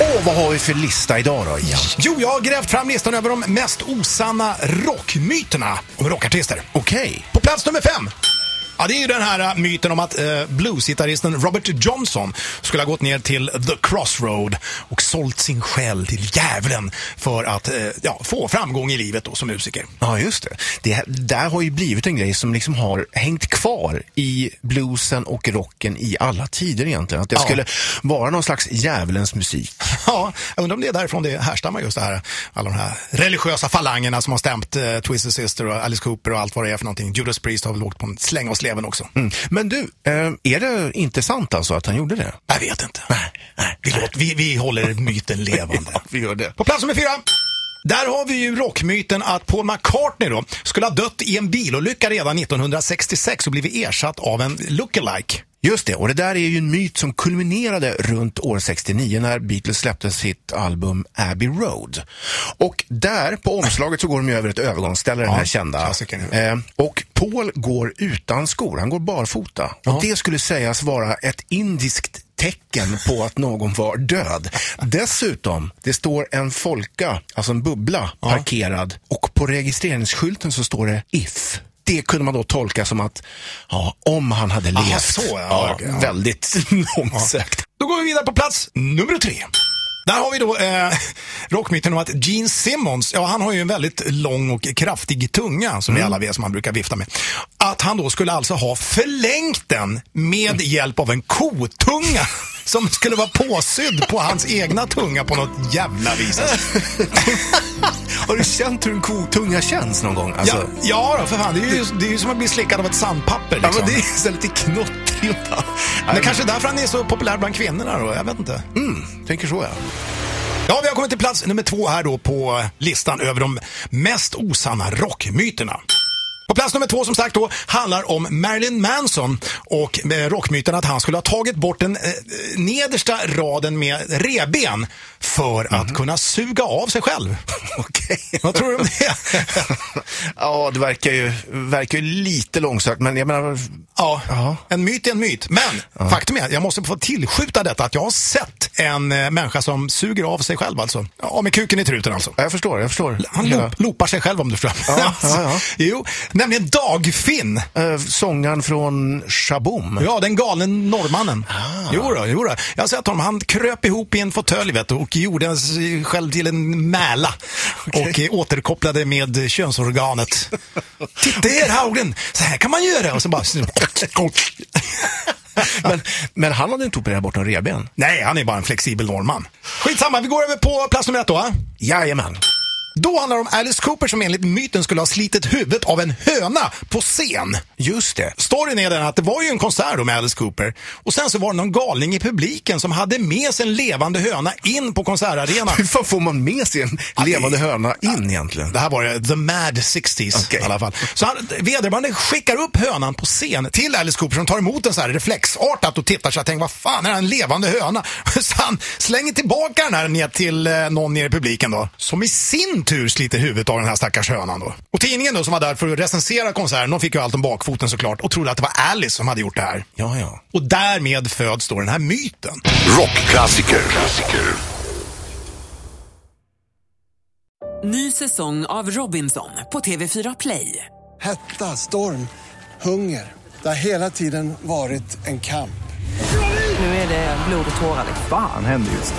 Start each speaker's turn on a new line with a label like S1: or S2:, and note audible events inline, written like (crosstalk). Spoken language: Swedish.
S1: Åh, vad har vi för lista idag då, Ian? Jo, jag har grävt fram listan över de mest osanna rockmyterna om rockartister.
S2: Okej.
S1: På plats nummer fem. Ja, det är ju den här äh, myten om att eh, bluesgitarristen Robert Johnson skulle ha gått ner till The Crossroad och sålt sin själ till djävulen för att eh, ja, få framgång i livet då, som musiker.
S2: Ja, just det. Det här, där har ju blivit en grej som liksom har hängt kvar i bluesen och rocken i alla tider egentligen. Att det
S1: Ja.
S2: skulle vara någon slags djävulens musik.
S1: (laughs) Ja, jag undrar om det är därifrån det härstammar just det här. Alla de här religiösa falangerna som har stämt eh, Twisted Sister och Alice Cooper och allt vad det är för någonting. Judas Priest har väl åkt på en släng av sleven också.
S2: Mm. Men du, eh, är det inte sant alltså att han gjorde det?
S1: Jag vet inte. vi, låter, vi, vi håller myten
S2: (laughs)
S1: levande.
S2: vi gör det.
S1: På plats nummer fyra. Där har vi ju rockmyten att Paul McCartney då skulle ha dött i en bilolycka redan 1966 och blivit ersatt av en lookalike.
S2: Just det, och det där är ju en myt som kulminerade runt år 69 när Beatles släppte sitt album Abbey Road. Och där, på omslaget, så går de ju över ett övergångsställe, den
S1: Ja,
S2: här kända.
S1: klassikern.
S2: Eh, och Paul går utan skor, han går barfota. Och det skulle sägas vara ett indiskt tecken på att någon var död. Dessutom, det står en folka, alltså en bubbla, parkerad och på registreringsskylten så står det if. Det kunde man då tolka som att, ja, om han hade
S1: Aha,
S2: levt.
S1: så, ja, okej, ja.
S2: Väldigt (laughs) långsökt.
S1: Då går vi vidare på plats nummer tre. Där har vi då eh, (laughs) rockmyten om att Gene Simmons, ja han har ju en väldigt lång och kraftig tunga som
S2: Mm.
S1: vi alla vet som han brukar vifta med. Att han då skulle alltså ha förlängt den med hjälp av en kotunga (laughs) som skulle vara påsydd på hans egna tunga på något jävla vis. alltså.
S2: (laughs) Har du känt hur en kotunga känns någon gång? Alltså,
S1: ja, ja då, för fan, det är, ju, det är ju som att bli slickad av ett sandpapper liksom.
S2: men det är så lite knottrigt. va?
S1: Men
S2: Nej,
S1: kanske därför han är så populär bland kvinnorna då, jag vet inte. Mm,
S2: men- tänker så ja.
S1: Ja, vi har kommit till plats nummer två här då på listan över de mest osanna rockmyterna. På plats nummer två som sagt då handlar om Marilyn Manson och eh, rockmyten att han skulle ha tagit bort den eh, nedersta raden med reben för att kunna suga av sig själv.
S2: Mhm. (laughs) Okej.
S1: Vad tror du om det?
S2: (laughs) ja, det verkar ju, verkar ju lite långsökt, men jag menar...
S1: Ja,
S2: Ja.
S1: en myt är en myt. Men faktum är, jag måste få tillskjuta detta att jag har sett en eh, människa som suger av sig själv alltså. Ja, med kuken i truten alltså.
S2: Ja, Jag förstår, jag förstår.
S1: Han
S2: Hela-
S1: loop, loopar sig själv om du förstår.
S2: Ja, ja, ja.
S1: (laughs) Jo, nämligen Dagfinn.
S2: Eh, sångaren från Shaboom.
S1: Ja, den galne norrmannen.
S2: Ah.
S1: Jo då, jo då. Jag har sett honom. Han kröp ihop i en fåtölj vet du, och gjorde sig själv till en mäla. Och eh, återkopplade med eh,
S2: (laughs)
S1: könsorganet. Titta här Haugen, så här kan man göra. Och så bara...
S2: (laughs) Men, men han hade inte opererat bort någon revben.
S1: Nej, han är bara en flexibel norrman. Skitsamma, vi går över på plats nummer ett då. va?
S2: Jajamän.
S1: Då handlar det om Alice Cooper som enligt myten skulle ha slitit huvudet av en höna på scen.
S2: Just det.
S1: Storyn är den att det var ju en konsert då med Alice Cooper och sen så var det någon galning i publiken som hade med sig en levande höna in på konsertarenan.
S2: (laughs) Hur fan får man med sig en levande höna in egentligen?
S1: Det här var det, the mad 60s
S2: Okej.
S1: i alla fall. Så han, vederbörande skickar upp hönan på scen till Alice Cooper som tar emot den så här reflexartat och tittar så jag tänker vad fan är det här, en levande höna? (laughs) Så han slänger tillbaka den här ner till eh, någon nere i publiken då. Som i sin tur sliter huvudet av den här stackars hönan då. Och tidningen då som var där för att recensera konserten, de fick ju allt om bakfoten såklart och trodde att det var Alice som hade gjort det här.
S2: Ja, ja.
S1: Och därmed föds då den här myten.
S3: Rockklassiker.
S4: Ny säsong av Robinson på TV4 Play.
S5: Hetta, storm, hunger. Det har hela tiden varit en kamp.
S6: Nu är det blod och tårar.
S7: Fan händer just nu.